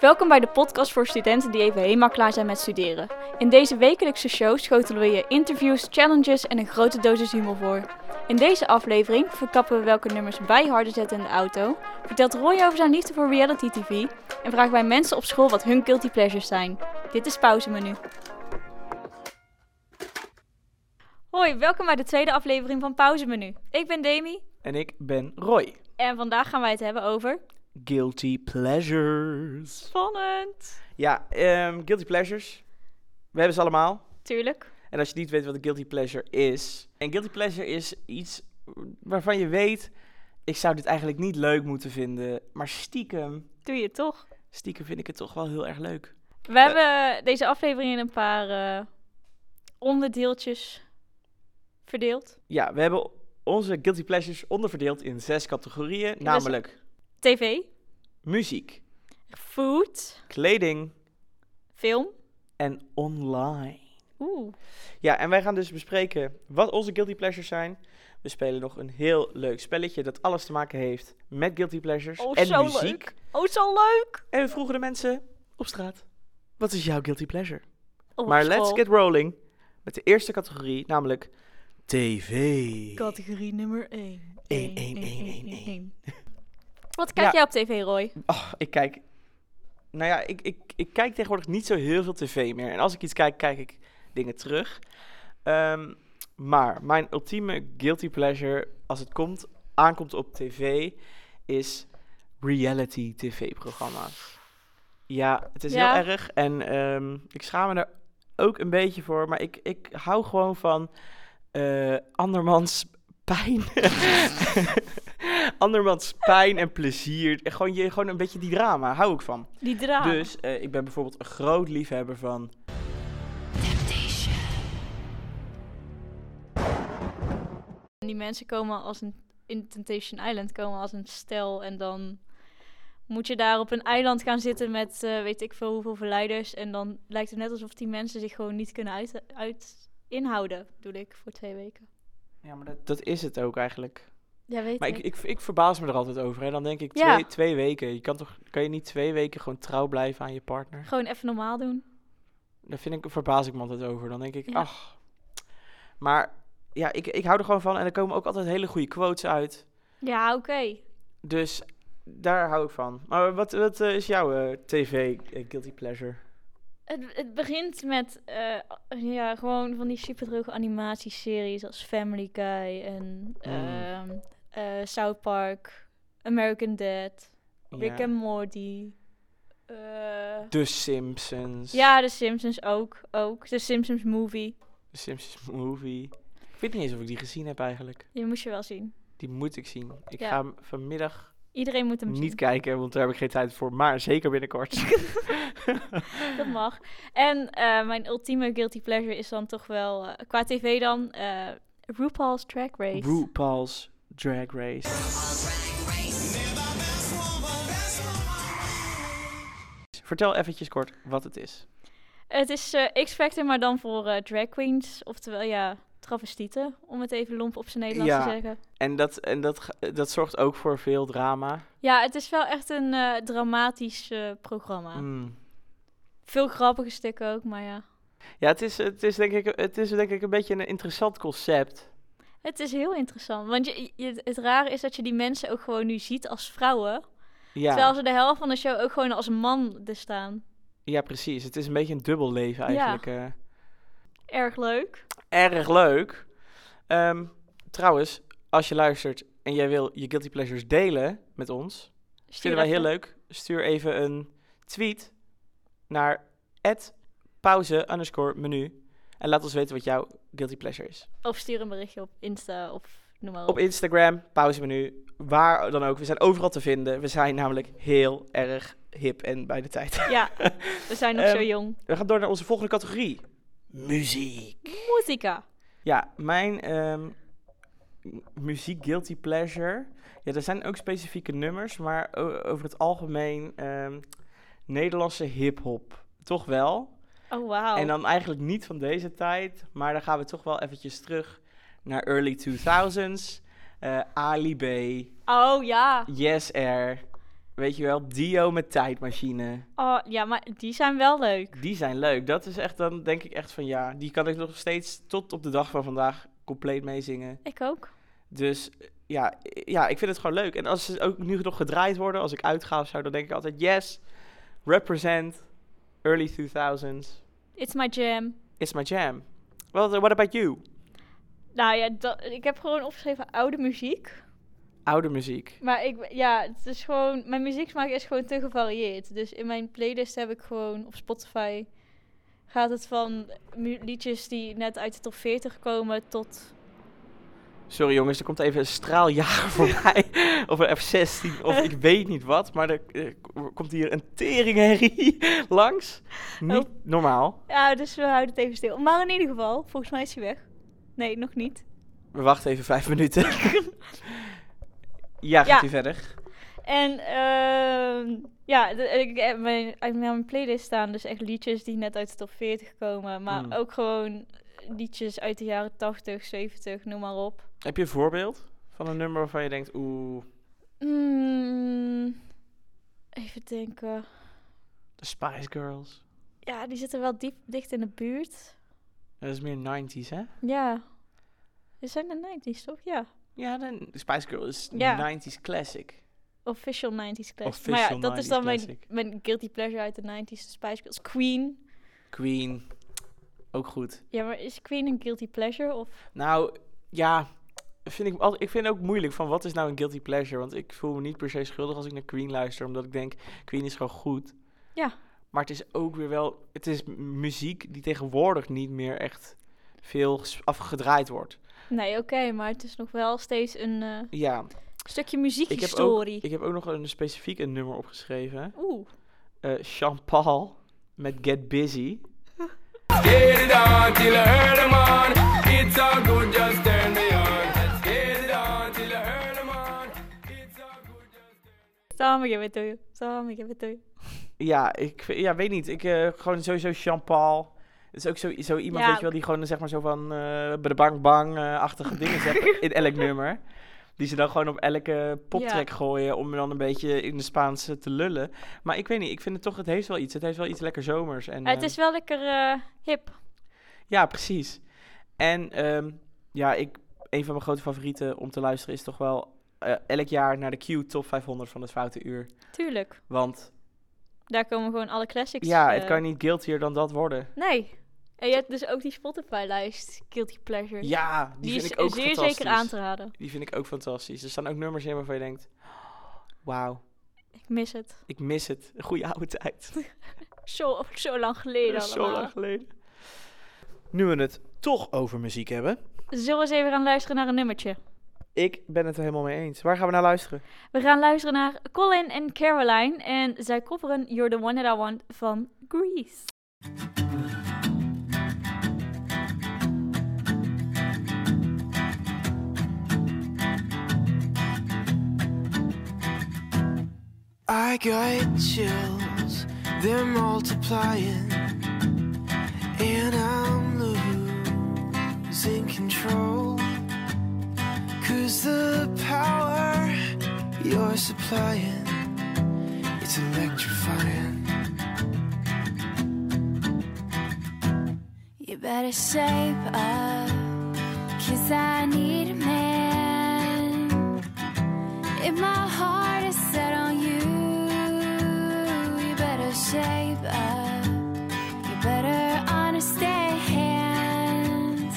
Welkom bij de podcast voor studenten die even helemaal klaar zijn met studeren. In deze wekelijkse show schotelen we je interviews, challenges en een grote dosis humor voor. In deze aflevering verklappen we welke nummers wij harder zetten in de auto, vertelt Roy over zijn liefde voor reality tv en vragen wij mensen op school wat hun guilty pleasures zijn. Dit is pauzemenu. Hoi, welkom bij de tweede aflevering van Pauzemenu. Ik ben Demi En ik ben Roy. en vandaag gaan wij het hebben over Guilty Pleasures. spannend. Ja, ehm, Guilty Pleasures. We hebben ze allemaal. Tuurlijk. En als je niet weet wat een Guilty Pleasure is. Een Guilty Pleasure is iets waarvan je weet. Ik zou dit eigenlijk niet leuk moeten vinden. Maar stiekem, Doe je toch? stiekem vind ik het toch wel heel erg leuk. We hebben deze aflevering in een paar eh, onderdeeltjes verdeeld. Ja, we hebben onze Guilty Pleasures onderverdeeld in zes categorieën. Namelijk TV, muziek, food, kleding film. en online. Oeh. Ja, en wij gaan dus bespreken wat onze guilty pleasures zijn. We spelen nog een heel leuk spelletje dat alles te maken heeft met guilty pleasures Oh, en zo muziek. leuk. Oh, zo leuk. En we vroegen de mensen op straat, wat is jouw guilty pleasure? Oh, Op maar school. let's get rolling met de eerste categorie, namelijk tv. Categorie nummer 1. Eén, één, één, één, Wat kijk Ja. jij op tv, Roy? Oh, ik kijk... Nou ja, ik, ik, ik kijk tegenwoordig niet zo heel veel tv meer. En als ik iets kijk, kijk ik dingen terug. Ehm, maar mijn ultieme guilty pleasure als het komt, aankomt op tv is reality tv-programma's. Ja, het is Ja. heel erg en ehm, ik schaam me er ook een beetje voor. Maar ik, ik hou gewoon van eh, andermans pijn. andermans pijn en plezier. Gewoon, je, gewoon een beetje die drama, hou ik van. Die draad. Dus eh, ik ben bijvoorbeeld een groot liefhebber van Die mensen komen als een... In Temptation Island komen als een stel en dan... Moet je daar op een eiland gaan zitten met eh, weet ik veel hoeveel verleiders. En dan lijkt het net alsof die mensen zich gewoon niet kunnen uit, uit inhouden, bedoel ik, voor twee weken. Ja, maar dat, dat is het ook eigenlijk. Ja, weet Maar ik. ik, ik, ik verbaas me er altijd over. Hè. Dan denk ik twee, Ja. twee weken. Je kan toch kan je niet twee weken gewoon trouw blijven aan je partner? Gewoon even normaal doen. Daar vind ik, verbaas ik me altijd over. Dan denk ik, Ja. ach. Maar ja, ik, ik hou er gewoon van. En er komen ook altijd hele goede quotes uit. Ja, oké. Dus daar hou ik van. Maar wat, wat eh, is jouw eh, tv eh, guilty pleasure? Het, het begint met eh, ja, gewoon van die superdroge animatieseries als Family Guy en ehm, eh, South Park, American Dad, Rick ja. and Morty. eh, The Simpsons. ja, The Simpsons ook, ook. The Simpsons Movie. The Simpsons Movie. Ik weet niet eens of ik die gezien heb eigenlijk. Die moest je wel zien. Die moet ik zien. Ik Ja. ga hem vanmiddag Iedereen moet hem niet zien. kijken, want daar heb ik geen tijd voor. Maar zeker binnenkort. Dat mag. En eh, mijn ultieme guilty pleasure is dan toch wel, eh, qua tv dan, eh, RuPaul's Drag Race. RuPaul's Drag Race. Vertel eventjes kort wat het is. Het is eh, X-Factor, maar dan voor eh, drag queens. Oftewel, ja, travestieten. Om het even lomp op zijn Nederlands Ja. te zeggen. En dat, en dat, ge- dat zorgt ook voor veel drama. Ja, het is wel echt een eh, dramatisch eh, programma. Mm. Veel grappige stukken ook, maar ja. Ja, het is, het, is denk ik, het is denk ik een beetje een interessant concept. Het is heel interessant. Want je, je- het rare is dat je die mensen ook gewoon nu ziet als vrouwen. Ja, Terwijl ze de helft van de show ook gewoon als man er staan. ja, precies. Het is een beetje een dubbel leven Ja. eigenlijk. eh. Erg leuk. erg leuk. Ehm, trouwens, als je luistert en jij wil je guilty pleasures delen met ons, Stuur vinden wij even. heel leuk. Stuur even een tweet naar pauze underscore menu. En laat ons weten wat jouw guilty pleasure is. Of stuur een berichtje op Insta of noem maar op. Op Instagram, pauzemenu, waar dan ook. We zijn overal te vinden. We zijn namelijk heel erg hip en bij de tijd. Ja, we zijn nog Ehm, zo jong. We gaan door naar onze volgende categorie. Muziek. Muzika. Ja, mijn ehm, m- muziek guilty pleasure. Ja, er zijn ook specifieke nummers, maar o- over het algemeen ehm, Nederlandse hip-hop. Toch wel. Oh, wauw. En dan eigenlijk niet van deze tijd, maar dan gaan we toch wel eventjes terug naar early 2000s. Eh Ali B, Oh, ja. Yes Air, Weet je wel, Dio met tijdmachine. Oh, ja, maar die zijn wel leuk. Die zijn leuk. Dat is echt dan, denk ik echt van ja, die kan ik nog steeds tot op de dag van vandaag compleet meezingen. Ik ook. Dus eh, ja, eh, ja, ik vind het gewoon leuk. En als ze ook nu nog gedraaid worden, als ik uitga of zo, dan denk ik altijd yes, represent, early 2000s, It's my jam. it's my jam. Well, what about you? Nou ja, dat, ik heb gewoon opgeschreven oude muziek. Oude muziek. Maar ik, ja, het is gewoon, mijn muzieksmaak is gewoon te gevarieerd. Dus in mijn playlist heb ik gewoon op Spotify gaat het van mu- liedjes die net uit de top 40 komen tot. Sorry jongens, er komt even een straaljager voorbij. of een F-16, of ik weet niet wat. Maar er, eh, k- komt hier een teringherrie langs. Niet normaal. Ja, dus we houden het even stil. Maar in ieder geval, volgens mij is hij weg. Nee, nog niet. We wachten even vijf minuten. ja, gaat Ja. u verder. En ehm, ja, de- ik heb mijn, uit mijn playlist staan dus echt liedjes die net uit de top 40 komen. Maar Mm. ook gewoon liedjes uit de jaren 80, 70, noem maar op. Heb je een voorbeeld van een nummer waarvan je denkt, oeh, Mm, even denken. de Spice Girls. Ja, die zitten wel diep, dicht in de buurt. Dat is meer 90s, hè? Ja. Ze zijn de 90s, toch? Ja. Ja, de de Spice Girl is Ja. 90s classic. Official 90s classic. maar Official ja, dat is dan 90s mijn, classic. mijn guilty pleasure uit de 90s, de Spice Girls. Queen. Queen, ook goed. Ja, maar is Queen een guilty pleasure? Of Nou, ja, vind ik, al- ik vind het ook moeilijk van wat is nou een guilty pleasure. Want ik voel me niet per se schuldig als ik naar Queen luister, omdat ik denk, Queen is gewoon goed. Ja. Maar het is ook weer wel, het is m- muziek die tegenwoordig niet meer echt veel ges- afgedraaid wordt. Nee, oké, maar het is nog wel steeds een eh, Ja, stukje ik heb, ook, muziekhistorie. ik heb ook nog een specifiek een nummer opgeschreven. Oeh. Eh Jean-Paul met Get Busy. Get it on till I heard 'em on. It's all good, just turn me on. Let's get it on till I heard 'em on. It's all good, just turn me on. Tommy, give it to you. Tommy, give it to you. Ja, ik vind- ja, weet niet. Ik eh, gewoon sowieso Jean-Paul. Het is ook zo, zo iemand, Ja, weet je wel, die gewoon zeg maar zo van eh de bang bang-achtige dingen zegt in elk nummer. Die ze dan gewoon op elke poptrack gooien om dan een beetje in de Spaanse te lullen. Maar ik weet niet, ik vind het toch, het heeft wel iets. Het heeft wel iets lekker zomers. En, het ehm, is wel lekker eh, hip. Ja, precies. En ehm, ja, ik, een van mijn grote favorieten om te luisteren is toch wel eh, elk jaar naar de Q Top 500 van het Foute Uur. Tuurlijk. Want Daar komen gewoon alle classics. ja, eh, het kan niet guiltier dan dat worden. Nee. En je hebt dus ook die Spotify-lijst, Guilty Pleasure. Ja, die, die vind is ik ook zeer fantastisch. zeker aan te raden. Die vind ik ook fantastisch. Er staan ook nummers in waarvan je denkt... Wauw, Ik mis het. ik mis het. Een goede oude tijd. Zo, zo lang geleden Dat is zo allemaal. lang geleden. Nu we het toch over muziek hebben. Zullen we eens even gaan luisteren naar een nummertje? Ik ben het er helemaal mee eens. Waar gaan we naar luisteren? We gaan luisteren naar Colin en Caroline. En zij coveren You're the One That I Want van Grease. I got chills, they're multiplying, and I'm losing control. Cause the power you're supplying, it's electrifying. You better shape up, cause I need a man. If my heart is set on you, you better shape up, you better understand.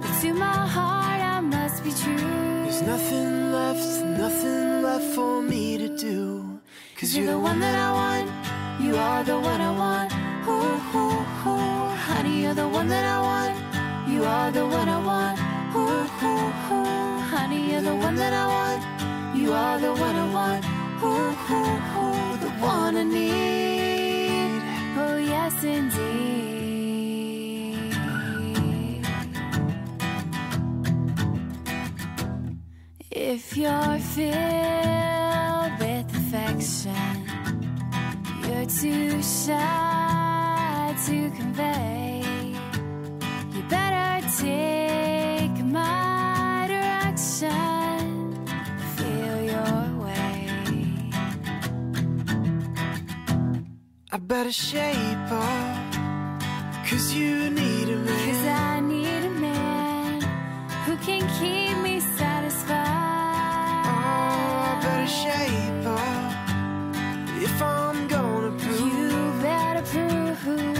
But to my heart, I must be true. There's nothing left, nothing left for me to do. Cause you're the one that I want, You are the one I want. Ooh, ooh, ooh. Honey, you're the one that I want. You are the one I want. Ooh, ooh, ooh. Honey, you're the one that I want. You are the one I want. Ooh, ooh, ooh. The one I need. Oh, yes, indeed. If you're filled with affection, you're too shy to convey. You better take my direction, feel your way. I better shape up. Cause you need a Cause man. I need a man who can keep me Oh, I satisfied. better shape up. If I'm gonna prove, You better prove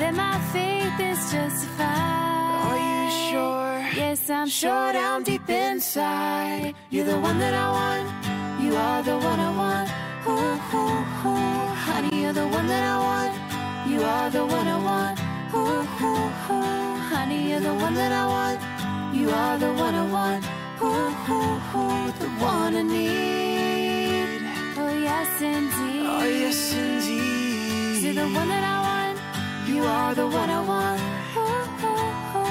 that my faith is justified. are you sure? Yes, I'm sure down deep inside. You're the one that I want. You are the one I want. Ooh, ooh, ooh. Honey, you're the one that I want. You are the one I want. Ooh, ooh, ooh. Honey, you're the one that I want. You are the one I want. Ooh, ooh, ooh. The one I need. Oh, yes, indeed. Oh, yes, indeed. You're the one that I want. You are the one I want. Ooh, ooh, ooh. Oh,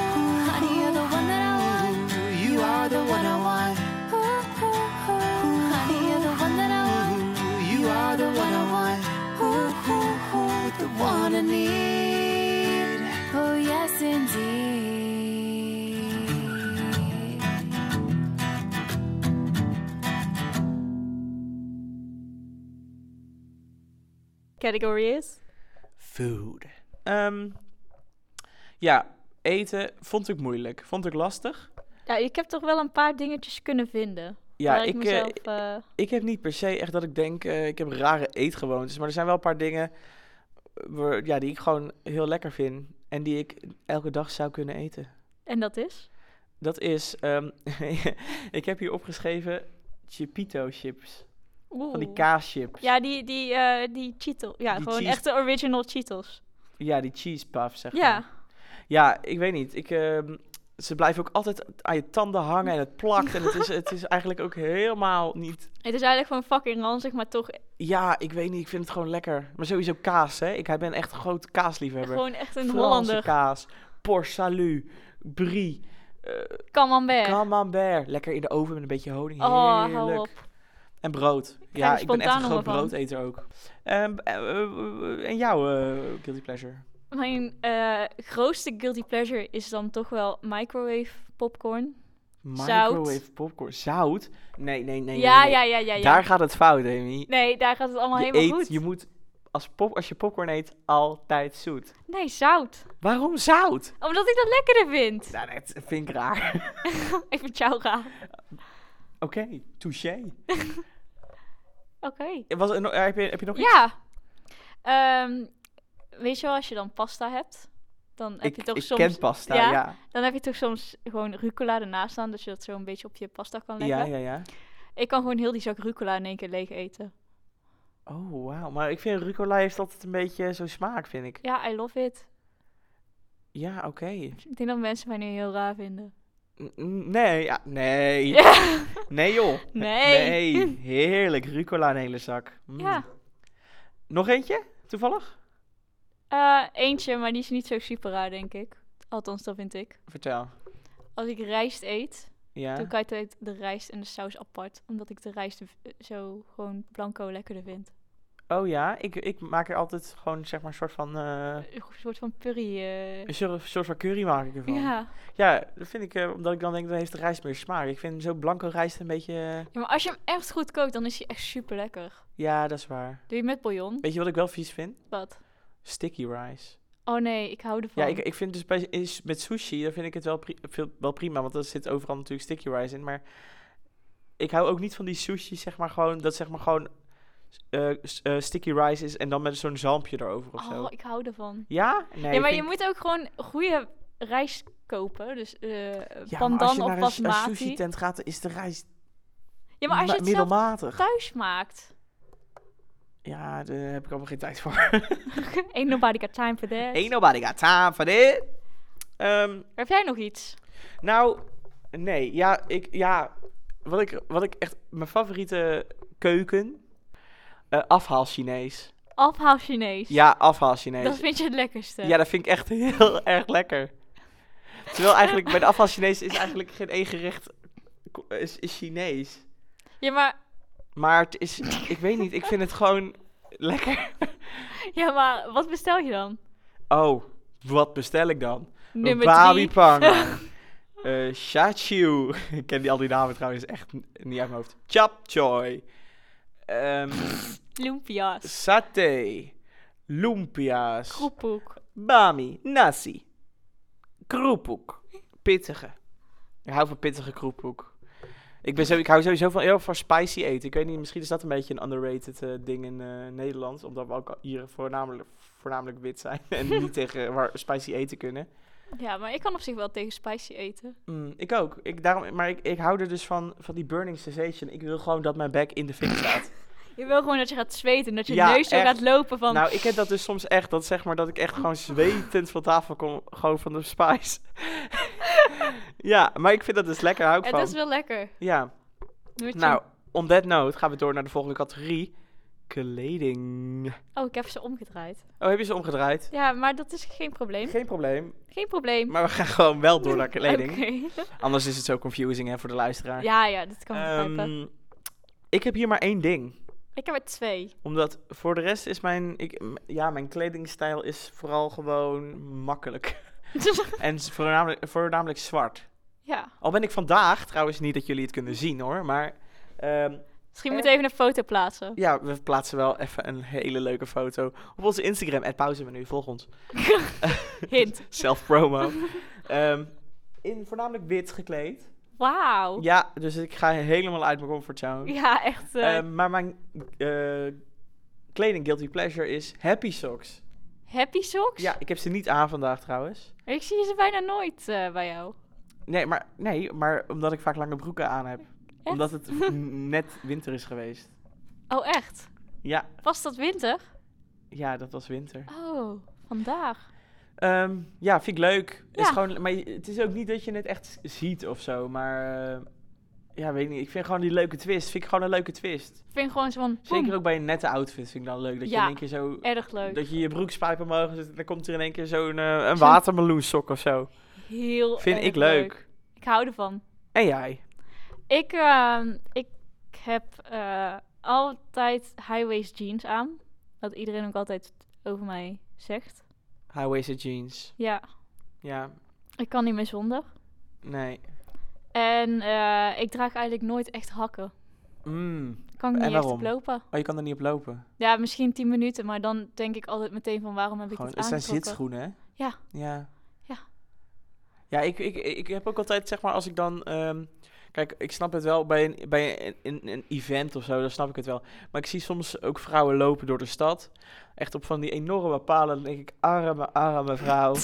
Honey, you're the one that I want. Oh, You are the one I want. Ooh, ooh, ooh. oh, Honey, you're the one that I want. You are the one I want. Ooh, ooh, ooh. The one I need. Oh, yes, indeed. Category is? Food. Ehm, ja, eten vond ik moeilijk. Vond ik lastig. Ja, ik heb toch wel een paar dingetjes kunnen vinden. Ja, waar ik, ik, eh, mezelf... eh, Ik heb niet per se echt dat ik denk, eh, ik heb rare eetgewoontes. Maar er zijn wel een paar dingen waar- ja, die ik gewoon heel lekker vind. En die ik elke dag zou kunnen eten. en dat is? Dat is, ehm, ik heb hier opgeschreven Chipito chips. Oeh. Van die kaaschips. Ja, die, die, eh, die Cheetos. Ja, Die gewoon cheese- echte original Cheetos. Ja, die cheese puff, zeg maar. Ja, Ja, ik weet niet. Ik, ehm, ze blijven ook altijd aan je tanden hangen en het plakt. En het is, het is eigenlijk ook helemaal niet... het is eigenlijk gewoon fucking ranzig, maar toch Ja, ik weet niet. Ik vind het gewoon lekker. Maar sowieso kaas, hè. Ik ben echt een groot kaasliefhebber. gewoon echt een Franse Hollander. kaas, port salut, brie, eh, Camembert. camembert. Lekker in de oven met een beetje honing. Oh, Heerlijk. hou op. En brood. er Ja, ik ben echt spontaan een groot honger van. broodeter ook. Ehm, eh, eh, eh, en jouw eh, guilty pleasure? Mijn eh, grootste guilty pleasure is dan toch wel microwave popcorn. Zout. Microwave popcorn. Zout? Nee, nee, nee. ja, nee, nee. ja, ja, ja, ja. Daar gaat het fout, Amy. Nee, daar gaat het allemaal je, helemaal eet, goed. je moet, als, pop, als je popcorn eet, altijd zoet. Nee, zout. Waarom zout? Omdat ik dat lekkerder vind. Nou, dat vind ik raar. Ik vind jou raar. Oké, touché. Oké. Was, er no- heb, je, heb je nog iets? Ja. Ehm, weet je wel, als je dan pasta hebt, dan heb Ik, je toch ik soms... ken pasta, Ja? Oh, ja. Dan heb je toch soms gewoon rucola ernaast staan, dat je dat zo een beetje op je pasta kan leggen. Ja, ja, ja. Ik kan gewoon heel die zak rucola in één keer leeg eten. Oh, wauw. Maar ik vind rucola heeft altijd een beetje zo'n smaak, vind ik. Ja, I love it. Ja, oké. Ik denk dat mensen mij nu heel raar vinden. N- n- Nee, ja, nee. Nee, joh. Nee. Eh, Nee, heerlijk. Rucola een hele zak. Mm. Ja. Nog eentje, toevallig? Eh, eentje, maar die is niet zo super raar, denk ik. Althans, dat vind ik. Vertel. Als ik rijst eet, Ja. dan kan ik de rijst en de saus apart. Omdat ik de rijst eh, zo gewoon blanco lekkerder vind. Oh ja, ik, ik maak er altijd gewoon zeg maar een soort van... eh, Een soort van purrie. eh. een soort, soort van curry maak ik ervan. Ja. Ja, dat vind ik, eh, omdat ik dan denk, dan heeft de rijst meer smaak. Ik vind zo blanco rijst een beetje... eh, ja, maar als je hem echt goed kookt, dan is hij echt super lekker. ja, dat is waar. Doe je met bouillon? Weet je wat ik wel vies vind? Wat? Sticky rice. Oh nee, ik hou ervan. Ja, ik, ik vind dus bij, is, met sushi, daar vind ik het wel, pri- veel, wel prima, want er zit overal natuurlijk sticky rice in. Maar ik hou ook niet van die sushi, zeg maar gewoon, dat zeg maar gewoon eh, s- eh, sticky rice is en dan met zo'n zalmpje erover of zo. oh, ik hou ervan. Ja? Nee, ja, maar vind je ik- moet ook gewoon goede rijst kopen. Dus eh Ja, maar als pandan je of naar een, su- een sushi basmati. tent gaat, dan is de rijst Ja, maar als je ma- het zelf middelmatig. thuis maakt. Ja, daar heb ik allemaal geen tijd voor. Ain't nobody got time for that. Ain't nobody got time for dit. Ehm, Heb jij nog iets? Nou, nee. Ja, ik, ja wat, ik, wat ik echt... Mijn favoriete keuken... eh, afhaal Chinees. Afhaal Chinees. Ja, afhaal Chinees. Dat vind je het lekkerste. Ja, dat vind ik echt heel erg lekker. Terwijl eigenlijk bij de afhaal Chinees is eigenlijk geen één gerecht ko- is, is Chinees. Ja, maar, Maar het is... Ik weet niet, ik vind het gewoon lekker. ja, maar wat bestel je dan? Oh, wat bestel ik dan? Nummer Babi drie. Pang. Eh Shachiu. Ik ken die, al die namen trouwens echt n- niet uit mijn hoofd. Chap Choi. Ehm, Lumpia's. satay. Lumpia's. Kroepoek. Bami, nasi. Kroepoek. Pittige. Ik hou van pittige kroepoek. Ik, ben zo, ik hou sowieso van, heel van spicy eten. Ik weet niet, misschien is dat een beetje een underrated eh, ding in eh, Nederland. Omdat we ook hier voornamelijk, voornamelijk wit zijn. en niet tegen waar spicy eten kunnen. Ja, maar ik kan op zich wel tegen spicy eten. Mm, ik ook. Ik, daarom, maar ik, ik hou er dus van, van die burning sensation. Ik wil gewoon dat mijn bek in de fik staat. Je wil gewoon dat je gaat zweten. Dat je Ja, neus zo echt. gaat lopen van... Nou, ik heb dat dus soms echt. Dat zeg maar dat ik echt gewoon zwetend van tafel kom. Gewoon van de spice. ja, maar ik vind dat dus lekker. Hou ik het van. is wel lekker. Ja. Doe het Nou, on that note gaan we door naar de volgende categorie. Kleding. zo. Oh, ik heb ze omgedraaid. Oh, heb je ze omgedraaid? Ja, maar dat is geen probleem. Geen probleem. Geen probleem. Maar we gaan gewoon wel door naar kleding. Oké. Anders is het zo confusing hè, voor de luisteraar. Ja, ja, dat kan ik begrijpen. Ehm, ik heb hier maar één ding. Ik heb er twee. Omdat voor de rest is mijn... Ik, m- ja, mijn kledingstijl is vooral gewoon makkelijk. en s- voornamelijk, voornamelijk zwart. ja. Al ben ik vandaag, trouwens niet dat jullie het kunnen zien hoor, maar... ehm, Misschien moeten we even een foto plaatsen. Ja, we plaatsen wel even een hele leuke foto op onze Instagram. Het pauzemenu, volg ons. Hint. Self-promo. Ehm, in voornamelijk wit gekleed. Wauw. Ja. Ja, dus ik ga helemaal uit mijn comfortzone. echt. eh, Ehm, maar mijn eh, kleding guilty pleasure is happy socks. happy socks? Ja, ik heb ze niet aan vandaag trouwens. Ik zie ze bijna nooit eh, bij jou. Nee, maar, nee, maar omdat ik vaak lange broeken aan heb. Omdat het v- net winter is geweest. Oh, echt? Ja, Was dat winter? ja dat was winter. Oh, vandaag. Ehm, ja, vind ik leuk. Is Ja. gewoon, maar je- het is ook niet dat je het echt ziet of zo. Maar eh, ja, weet niet. Ik vind gewoon die leuke twist. Vind ik gewoon een leuke twist. Ik vind gewoon zo van... Zeker boem, ook bij een nette outfit vind ik dan leuk. Dat je Ja. in één keer zo... Erg leuk. Dat je je broekspijp omhoog zet en dan komt er in één keer zo'n eh, een Zo'n- watermeloensok of zo. Heel Vind erg ik leuk. Ik hou ervan. En jij? Ik, ehm, ik heb eh, altijd high-waist jeans aan. Wat iedereen ook altijd over mij zegt. High-waisted jeans. Ja, Ja, ik kan niet meer zonder. nee. En eh, ik draag eigenlijk nooit echt hakken. Mm. Kan ik En niet echt waarom? op lopen. Oh, je kan er niet op lopen. Ja, misschien 10 minuten, maar dan denk ik altijd meteen van waarom heb ik Gewoon, het het zijn aangetrokken? zitschoenen, hè? Ja. Ja. Ja. Ja, ik, ik, ik heb ook altijd, zeg maar, als ik dan... ehm, kijk, ik snap het wel bij, een, bij een, een, een event of zo, dan snap ik het wel. Maar ik zie soms ook vrouwen lopen door de stad. Echt op van die enorme palen. Dan denk ik, arme, arme vrouw.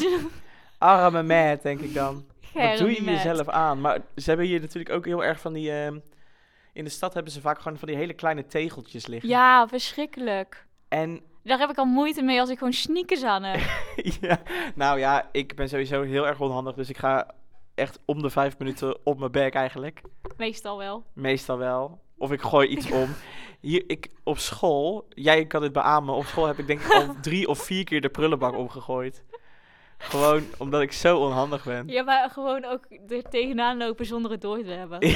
arme meid, denk ik dan. Wat doe je Germ, Matt. jezelf aan? Maar ze hebben hier natuurlijk ook heel erg van die... ehm, in de stad hebben ze vaak gewoon van die hele kleine tegeltjes liggen. Ja, verschrikkelijk. En Daar heb ik al moeite mee als ik gewoon sneakers aan heb. ja, nou ja, ik ben sowieso heel erg onhandig, dus ik ga echt om de vijf minuten op mijn bek eigenlijk. Meestal wel. Meestal wel. Of ik gooi iets om. Hier, ik, op school, jij kan dit beamen, op school heb ik denk ik al drie of vier keer de prullenbak omgegooid. Gewoon omdat ik zo onhandig ben. Ja, maar gewoon ook er tegenaan lopen zonder het door te hebben.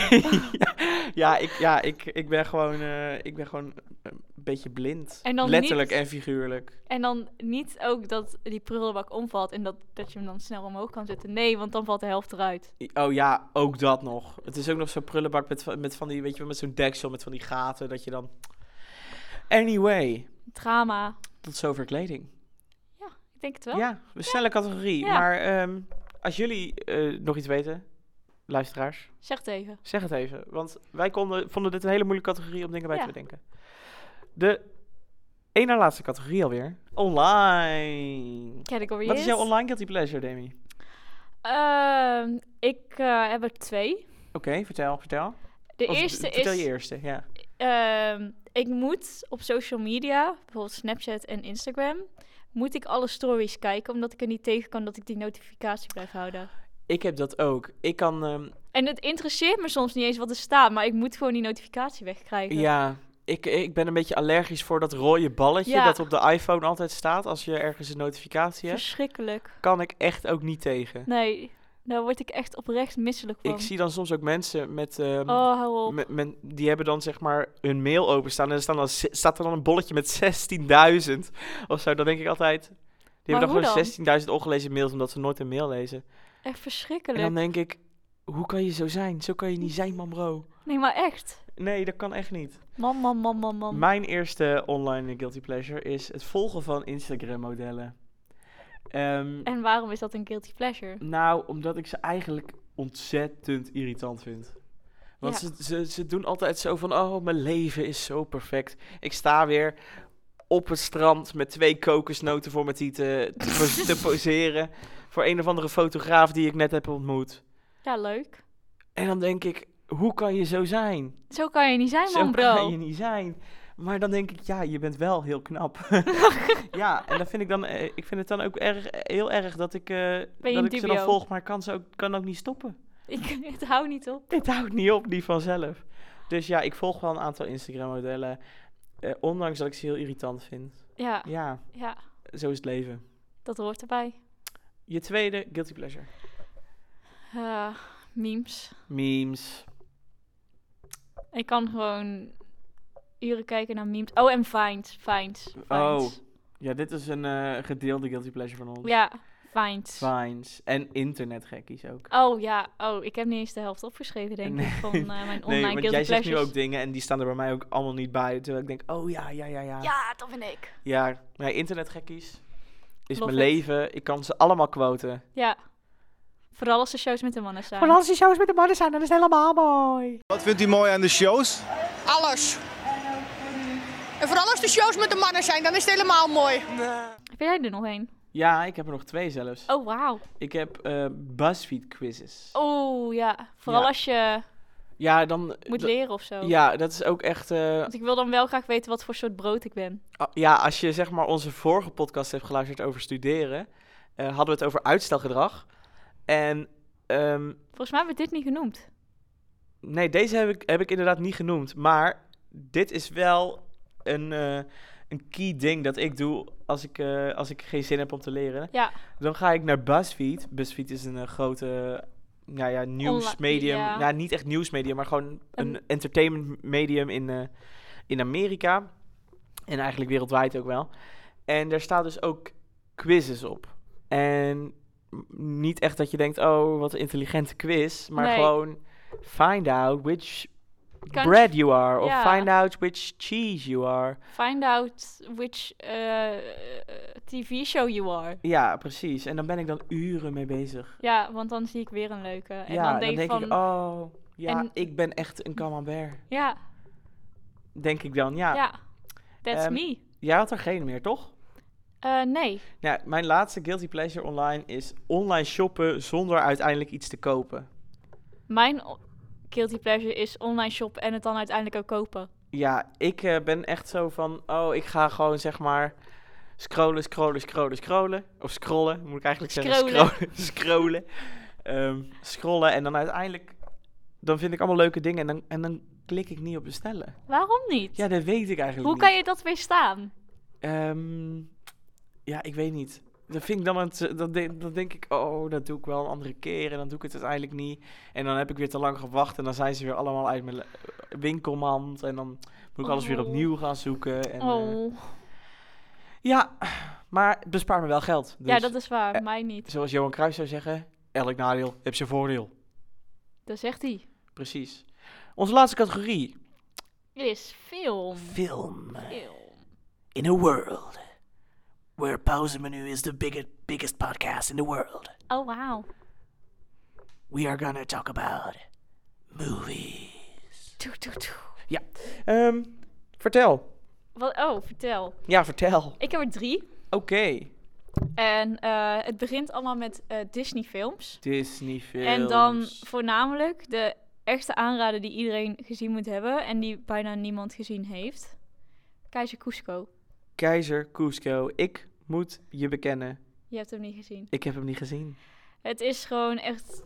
ja, ik, ja ik, ik ben gewoon, eh, ik ben gewoon een beetje blind. En dan Letterlijk niet- en figuurlijk. En dan niet ook dat die prullenbak omvalt en dat, dat je hem dan snel omhoog kan zetten. Nee, want dan valt de helft eruit. I- Oh ja, ook dat nog. Het is ook nog zo'n prullenbak met, van- met van die, weet je wel, met zo'n deksel, met van die gaten, dat je dan... Anyway, Drama. tot zover kleding. Ik denk het wel. Ja, een snelle categorie. Ja. Maar ehm, als jullie eh, nog iets weten, luisteraars, Zeg het even. zeg het even. Want wij konden, vonden dit een hele moeilijke categorie om dingen bij Ja. te bedenken. De één na laatste categorie alweer. Online. Category Wat is jouw online guilty pleasure, Demi? Ehm, ik eh, heb er twee. Oké, vertel, vertel. De Of, eerste vertel is... je eerste, ja. Ehm, ik moet op social media, bijvoorbeeld Snapchat en Instagram, moet ik alle stories kijken, omdat ik er niet tegen kan dat ik die notificatie blijf houden. Ik heb dat ook. Ik kan... ehm, En het interesseert me soms niet eens wat er staat, maar ik moet gewoon die notificatie wegkrijgen. Ja, ik, ik ben een beetje allergisch voor dat rode balletje Ja. dat op de iPhone altijd staat als je ergens een notificatie hebt. Verschrikkelijk. Kan ik echt ook niet tegen. Nee, daar word ik echt oprecht misselijk van. Ik zie dan soms ook mensen met, ehm, Oh, hou op. met, met- die hebben dan zeg maar hun mail openstaan en er staan dan, ze- staat er dan een bolletje met 16.000 of zo. Dan denk ik altijd, die Maar hebben hoe dan dan? gewoon 16.000 ongelezen mails omdat ze nooit een mail lezen. Echt En verschrikkelijk. dan denk ik, hoe kan je zo zijn? Zo kan je niet zijn, man bro. Nee, maar echt. Nee, dat kan echt niet. Man, man, man, man, man. Mijn eerste online guilty pleasure is het volgen van Instagram-modellen. Ehm, En waarom is dat een guilty pleasure? nou, omdat ik ze eigenlijk ontzettend irritant vind. Want Ja. ze, ze, ze doen altijd zo van, oh, mijn leven is zo perfect. Ik sta weer op het strand met twee kokosnoten voor mijn tieten te, pos- te poseren. Voor een of andere fotograaf die ik net heb ontmoet. Ja, leuk. En dan denk ik, hoe kan je zo zijn? Zo kan je niet zijn, Zo man, bro. kan je niet zijn. Maar dan denk ik, ja, je bent wel heel knap. ja, en dan vind ik dan, eh, ik vind het dan ook erg, heel erg dat ik, eh, je dat in ik ze dan dubio? volg, maar ik kan ze ook, kan ook niet stoppen. Ik, het houdt niet op. Dit houdt niet op, niet vanzelf. Dus ja, ik volg wel een aantal Instagram-modellen, eh, ondanks dat ik ze heel irritant vind. Ja, Ja, ja, zo is het leven. dat hoort erbij. Je tweede guilty pleasure. Eh, memes. Memes. Ik kan gewoon uren kijken naar memes. Oh, en Find. Find. Oh. Ja, dit is een eh, gedeelde guilty pleasure van ons. Ja, Find. Vines. En internetgekkies ook. Oh ja, oh, ik heb niet eens de helft opgeschreven, denk Nee. ik, van eh, mijn Nee, online want guilty jij zegt nu pleasures. ook dingen en die staan er bij mij ook allemaal niet bij. Terwijl ik denk, oh ja, ja, ja, ja. Ja, dat ben ik. Ja, nee, internetgekkies is Love mijn it. leven. Ik kan ze allemaal quoten. Ja. Vooral als de shows met de mannen zijn. als die shows met de mannen zijn, dat is helemaal mooi. Wat vindt u mooi aan de shows? Alles. En vooral als de shows met de mannen zijn, dan is het helemaal mooi. Heb jij er nog één? Ja, ik heb er nog twee zelfs. Oh, wauw. Ik heb eh BuzzFeed quizzes. Oh, ja. Vooral Ja. als je Ja, dan... moet dat- leren of zo. Ja, dat is ook echt... eh, Want ik wil dan wel graag weten wat voor soort brood ik ben. Ah, Ja, als je zeg maar onze vorige podcast hebt geluisterd over studeren, eh, hadden we het over uitstelgedrag. En ehm, Volgens mij hebben we dit niet genoemd. nee, deze heb ik, heb ik inderdaad niet genoemd. Maar dit is wel een, eh, een key ding dat ik doe als ik, eh, als ik geen zin heb om te leren. Ja. Dan ga ik naar BuzzFeed. BuzzFeed is een eh, grote nou ja, nieuwsmedium. ja. Ja, niet echt nieuwsmedium, maar gewoon een, Een- entertainment medium in, eh, in Amerika. En eigenlijk wereldwijd ook wel. En daar staan dus ook quizzes op. En m- niet echt dat je denkt, oh, wat een intelligente quiz. Maar Nee. gewoon find out which Country- bread you are. Of Ja. find out which cheese you are. Find out which eh, eh, TV show you are. Ja, precies. En dan ben ik dan uren mee bezig. Ja, want dan zie ik weer een leuke. En ja, dan denk, ik van... ik, oh, ja, en- ik ben echt een camembert. ja, Denk ik dan, ja. ja, That's Ehm, me. Jij had er geen meer, toch? Eh, nee. Nou, mijn laatste guilty pleasure online is online shoppen zonder uiteindelijk iets te kopen. Mijn o- guilty pleasure is online shoppen en het dan uiteindelijk ook kopen. Ja, ik eh, ben echt zo van, oh, ik ga gewoon zeg maar scrollen, scrollen, scrollen, scrollen. Of scrollen, moet ik eigenlijk zeggen. Scrollen. Scrollen. scrollen. Ehm, scrollen en dan uiteindelijk, dan vind ik allemaal leuke dingen en dan, en dan klik ik niet op bestellen. Waarom niet? Ja, dat weet ik eigenlijk Hoe niet. kan je dat weerstaan? Ehm, ja, ik weet niet. Dat vind ik dan, het, eh, dat, de- dat denk ik, oh, dat doe ik wel een andere keer. En dan doe ik het uiteindelijk niet. En dan heb ik weer te lang gewacht. En dan zijn ze weer allemaal uit mijn le- winkelmand. En dan moet ik alles weer Oh. opnieuw gaan zoeken. En, eh, Oh. ja, maar het bespaart me wel geld. Dus, ja, dat is waar. eh, Mij niet. Zoals Johan Cruijff zou zeggen, elk nadeel heeft zijn voordeel. Dat zegt hij. Precies. Onze laatste categorie. Is film. Film. Film. In a world. Where Pauze Menu is the biggest, biggest podcast in the world. Oh, wauw. We are gonna talk about movies. Toe, toe, toe. Ja, ehm, vertel. Wat, oh, vertel. Ja, vertel. Oké. Ik heb er drie. En eh, het begint allemaal met eh, Disney-films. Disney films. En dan voornamelijk de echte aanrader die iedereen gezien moet hebben. En die bijna niemand gezien heeft. Keizer Cusco. Keizer Cusco. Ik moet je bekennen. Je hebt hem niet gezien. Ik heb hem niet gezien. Het is gewoon echt...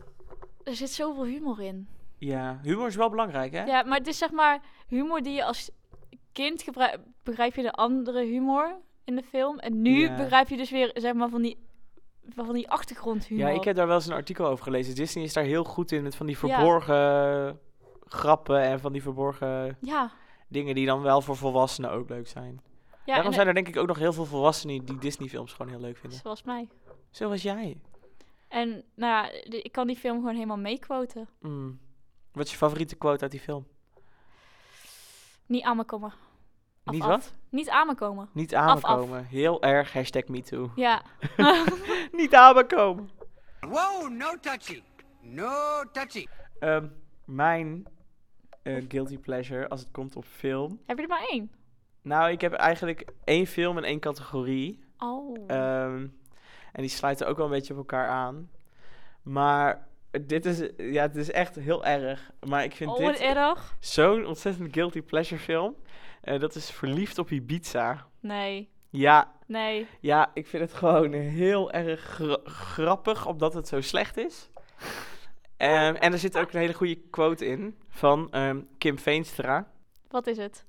Er zit zoveel humor in. Ja, humor is wel belangrijk, hè? Ja, maar het is zeg maar humor die je als kind gebruikt. Begrijp je de andere humor in de film? En nu Ja. begrijp je dus weer zeg maar van die, van die achtergrondhumor. Ja, ik heb daar wel eens een artikel over gelezen. Disney is daar heel goed in met van die verborgen grappen en van die verborgen Ja, dingen die dan wel voor volwassenen ook leuk zijn. ja en, Daarom zijn er denk ik ook nog heel veel volwassenen die Disney films gewoon heel leuk vinden. zoals mij. Zoals jij. En nou ja, de- ik kan die film gewoon helemaal meequoten. Mm. Wat is je favoriete quote uit die film? Niet aan me komen. Af, Niet af. wat? Niet aan me komen. Niet af. aankomen. Heel erg hashtag MeToo. Ja. Niet aankomen. Whoa, no touchy. No touchy. Ehm, mijn eh, guilty pleasure als het komt op film. Heb je er maar één? Nou, ik heb eigenlijk één film en één categorie. Oh. Ehm, en die sluiten ook wel een beetje op elkaar aan. Maar dit is, ja, het is echt heel erg. Maar ik vind oh, wat dit erg. zo'n ontzettend guilty pleasure film. Eh, dat is Verliefd op Ibiza. Nee. Ja, Nee. ja, ik vind het gewoon heel erg gra- grappig, omdat het zo slecht is. Ehm, en er zit ook een hele goede quote in van ehm, Kim Veenstra. Wat is het?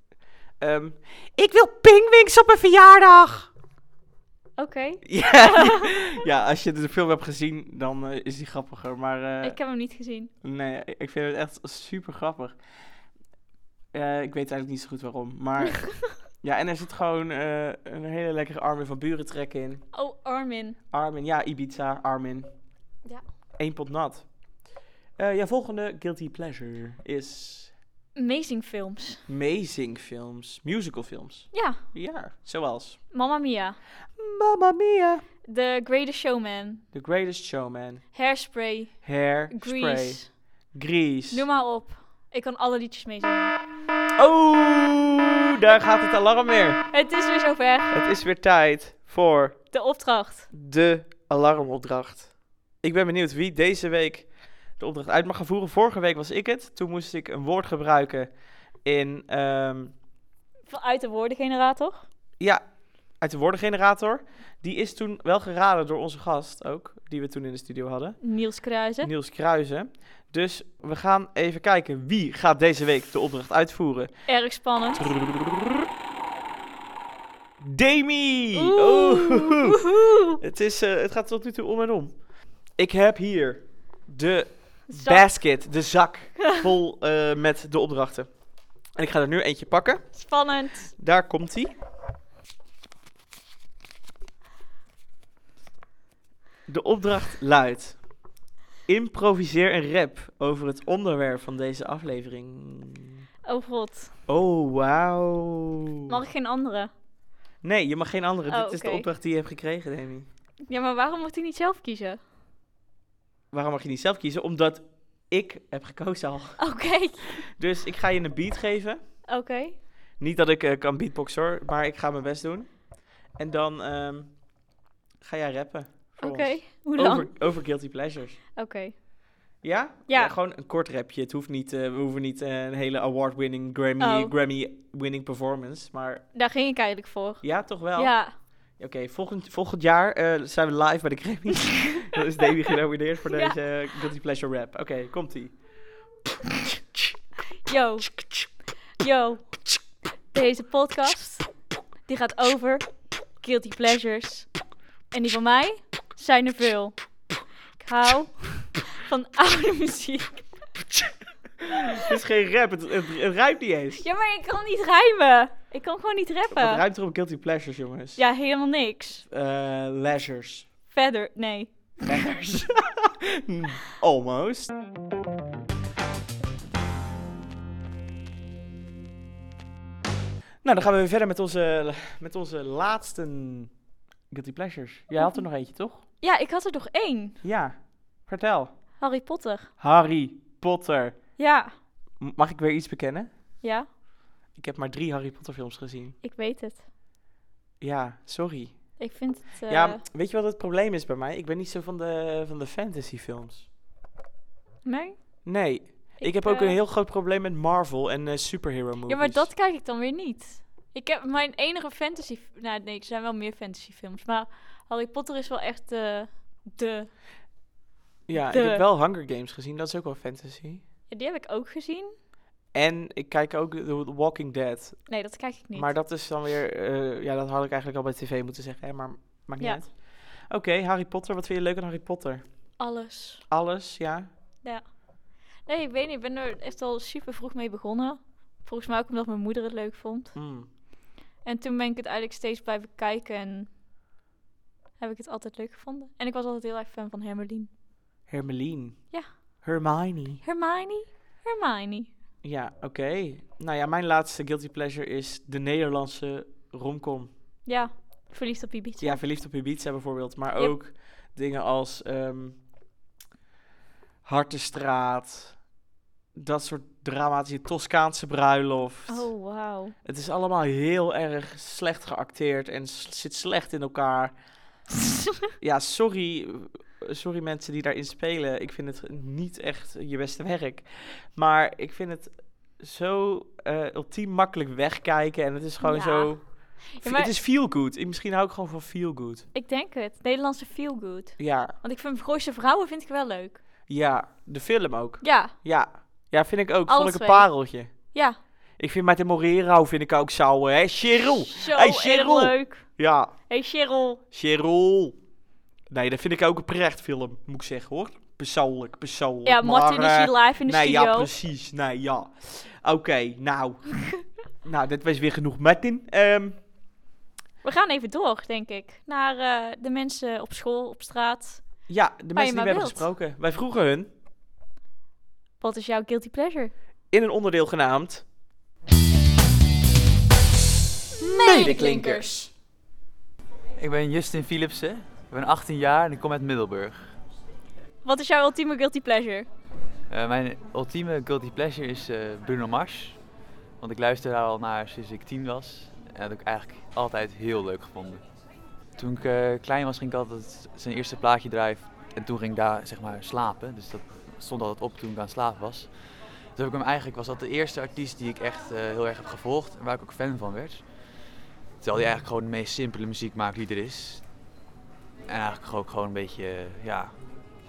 Ehm, ik wil pingwings op mijn verjaardag! Oké. Ja, ja, als je de film hebt gezien, dan eh, is die grappiger. Maar eh, Ik heb hem niet gezien. nee, ik vind het echt super grappig. Eh, ik weet eigenlijk niet zo goed waarom. Maar ja, en er zit gewoon eh, een hele lekkere Armin van Buren trek in. Oh, Armin. Armin, ja, Ibiza, Armin. Ja. Eén pot nat. Eh, ja, volgende Guilty Pleasure is Amazing films. amazing films, musical films. Ja. Ja, zoals Mamma Mia. Mamma Mia, The Greatest Showman. The Greatest Showman, Hairspray. Hair, Grease. Spray, Grease. Noem maar op. Ik kan alle liedjes meezingen. Oh, daar gaat het alarm weer. Het is weer zover. Het is weer tijd voor De opdracht. de alarmopdracht. Ik ben benieuwd wie deze week de opdracht uit mag gaan voeren. Vorige week was ik het. Toen moest ik een woord gebruiken in... ehm, Vanuit de woordengenerator. ja, uit de woordengenerator. Die is toen wel geraden door onze gast ook, die we toen in de studio hadden. Niels Kruijzen. Niels Kruijzen. Dus we gaan even kijken wie gaat deze week de opdracht uitvoeren. Erg spannend. Demi! Oeh, Oeh. woehoe. Het, is, eh, het gaat tot nu toe om en om. Ik heb hier de Zak. basket, de zak, vol eh, met de opdrachten. En ik ga er nu eentje pakken. Spannend. Daar komt hij. De opdracht luidt: improviseer een rap over het onderwerp van deze aflevering. Oh god. Oh, wauw. Mag ik geen andere? Nee, je mag geen andere. Oh, Dit is de oké. opdracht die je hebt gekregen, Demi. Ja, maar waarom mocht hij niet zelf kiezen? Waarom mag je niet zelf kiezen? Omdat ik heb gekozen al. Oké. Dus ik ga je een beat geven. Oké. Niet dat ik eh, kan beatboxen hoor, maar ik ga mijn best doen. En dan ehm, ga jij rappen. voor Oké. ons. Hoe lang? Over, over guilty pleasures. Oké. Ja? Ja. Gewoon een kort rapje. Het hoeft niet, eh, we hoeven niet eh, een hele award-winning, Grammy, Oh. Grammy-winning performance. Maar Daar ging ik eigenlijk voor. ja, toch wel. Ja. Oké, volgend, volgend jaar eh, zijn we live bij de Grammy. Dan is Davy genomineerd voor Ja. deze eh, guilty pleasure rap. Oké, komt-ie. Yo. Yo. Deze podcast die gaat over guilty pleasures. En die van mij zijn er veel. Ik hou van oude muziek. Het is geen rap, het, het, het rijmt niet eens. Ja, maar ik kan niet rijmen. Ik kan gewoon niet Het rappen. ruimt erop guilty pleasures, jongens. Ja, helemaal niks. Eh, leisures. Verder, nee. Leisures. Almost. Nou, dan gaan we weer verder met onze, met onze laatste guilty pleasures. Jij had er nog eentje, toch? Ja, ik had er nog één. Ja. Vertel. Harry Potter. Harry Potter. Ja. M- Mag ik weer iets bekennen? Ja, Ik heb maar drie Harry Potter films gezien. ik weet het. Ja, sorry. Ik vind het... eh, Ja, weet je wat het probleem is bij mij? Ik ben niet zo van de, van de fantasyfilms. Nee? Nee. Ik, heb ook eh, een heel groot probleem met Marvel en eh superhero movies. Ja, maar dat kijk ik dan weer niet. Ik heb mijn enige fantasy... Nou, nee, er zijn wel meer fantasyfilms. Maar Harry Potter is wel echt de... de... Ja, de- ik heb wel Hunger Games gezien. Dat is ook wel fantasy. Ja, die heb ik ook gezien. En... En ik kijk ook The The Walking Dead. Nee, dat kijk ik niet. Maar dat is dan weer... eh, ja, dat had ik eigenlijk al bij tv moeten zeggen. Hè, maar maakt niet Ja. uit. Oké, Harry Potter. Wat vind je leuk aan Harry Potter? Alles. Alles, ja. Nee, ik weet niet. Ik ben er echt al super vroeg mee begonnen. Volgens mij ook omdat mijn moeder het leuk vond. Mm. En toen ben ik het eigenlijk steeds blijven kijken en... Heb ik het altijd leuk gevonden. En ik was altijd heel erg fan van Hermeline. Hermeline. Ja. Hermione. Hermione? Hermione. Ja, oké. Nou ja, mijn laatste guilty pleasure is de Nederlandse romcom. Ja, verliefd op Ibiza. Ja, Verliefd op Ibiza bijvoorbeeld. Maar Yep. ook dingen als ehm Hartenstraat. Dat soort dramatische Toscaanse bruiloft. Oh, wauw. Het is allemaal heel erg slecht geacteerd en s- zit slecht in elkaar. ja, sorry. eh, Sorry mensen die daarin spelen. Ik vind het niet echt je beste werk. Maar ik vind het zo eh, ultiem makkelijk wegkijken. En het is gewoon Ja. zo... maar- Het is feel good. Ik- Misschien hou ik gewoon van feel good. Ik denk het. Nederlandse feel good. Ja, Want ik vind Gooise Vrouwen vind ik wel leuk. ja. De film ook. Ja, Ja, ja vind ik ook. Alle Vond ik een twee. pareltje. ja. Ik vind Martin Morero vind ik ook zo... Hé, Cheryl! Zo Hey, erg Cheryl. leuk. Ja, Hey Cheryl. Cheryl. Nee, dat vind ik ook een precht film, moet ik zeggen hoor. Persoonlijk, persoonlijk. Ja, Martin Maar, is eh, hier live in de nee, studio. ja, precies. Nee, ja. Oké, nou. nou, dat was weer genoeg Martin. Ehm, We gaan even door, denk ik. Naar eh, de mensen op school, op straat. ja, de maar mensen die we hebben wilt. gesproken. Wij vroegen hun, Wat is jouw guilty pleasure? in een onderdeel genaamd... Medeklinkers. Ik ben Justin Philipsen, ik ben 18 jaar en ik kom uit Middelburg. Wat is jouw ultieme guilty pleasure? Eh, mijn ultieme guilty pleasure is eh, Bruno Mars. Want ik luister daar al naar sinds ik 10 was. En dat heb ik eigenlijk altijd heel leuk gevonden. Toen ik eh, klein was ging ik altijd zijn eerste plaatje draaien. En toen ging ik daar zeg maar slapen. Dus dat stond altijd op toen ik aan het slapen was. Dus heb ik hem eigenlijk, was dat de eerste artiest die ik echt eh, heel erg heb gevolgd. En waar ik ook fan van werd. Terwijl hij eigenlijk gewoon de meest simpele muziek maakt die er is. En eigenlijk ook gewoon een beetje eh, ja,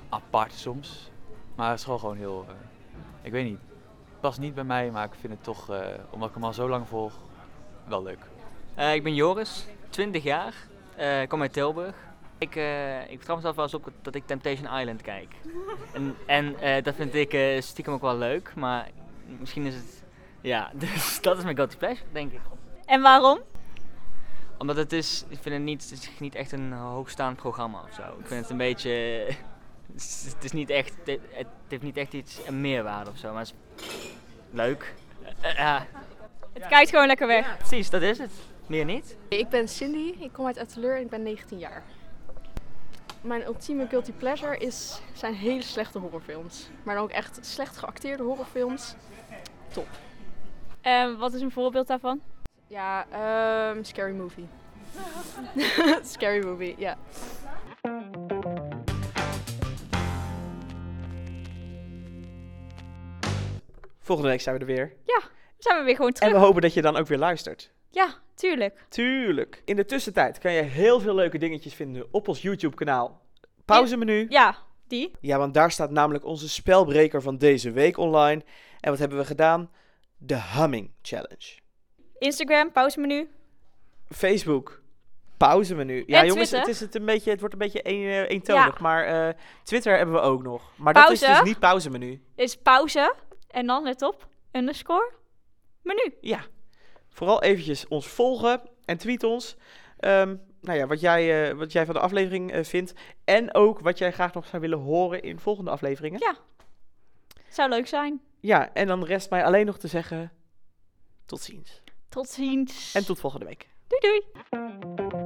apart soms. Maar het is gewoon, gewoon heel. eh, ik weet niet. Het past niet bij mij, maar ik vind het toch, eh, omdat ik hem al zo lang volg, wel leuk. Eh, ik ben Joris, 20 jaar, eh, ik kom uit Tilburg. Ik, eh ik betrap mezelf wel eens op dat ik Temptation Island kijk. En, en eh, dat vind ik eh, stiekem ook wel leuk, maar misschien is het... Ja, dus dat is mijn guilty pleasure, denk ik. En waarom? Omdat het is, ik vind het niet, het is niet echt een hoogstaand programma of zo. Ik vind het een beetje... Het is- het is niet echt, het, het heeft niet echt iets, een meerwaarde of zo, maar het is leuk. Eh, eh, ja, Het kijkt gewoon lekker weg. precies, dat is het. Meer niet. Ik ben Cindy, ik kom uit Etteleur en ik ben 19 jaar. Mijn ultieme guilty pleasure is, zijn hele slechte horrorfilms. Maar dan ook echt slecht geacteerde horrorfilms. En Ehm, wat is een voorbeeld daarvan? Ja, ehm, scary movie. scary movie, ja. Volgende week zijn we er weer. Dan zijn we weer gewoon En terug. we hopen dat je dan ook weer luistert. Ja, tuurlijk. Tuurlijk. In de tussentijd kan je heel veel leuke dingetjes vinden op ons YouTube kanaal. Pauzemenu. Ja, die. Ja, want daar staat namelijk onze spelbreker van deze week online. En wat hebben we gedaan? De Humming Challenge. Instagram, pauzemenu. Facebook. Pauzemenu. Ja, En jongens, Twitter. het, is het, een beetje, het wordt een beetje een, eh, eentonig. Maar eh, Twitter hebben we ook nog. Maar dat is Pauze. dus niet pauzemenu. Is pauze. En dan, let op, underscore, menu. Ja. Vooral eventjes ons volgen en tweet ons. Ehm, nou ja, wat jij, eh, wat jij van de aflevering eh, vindt. En ook wat jij graag nog zou willen horen in volgende afleveringen. Ja. Zou leuk zijn. ja, en dan rest mij alleen nog te zeggen... Tot ziens. Tot ziens. En tot volgende week. Doei doei.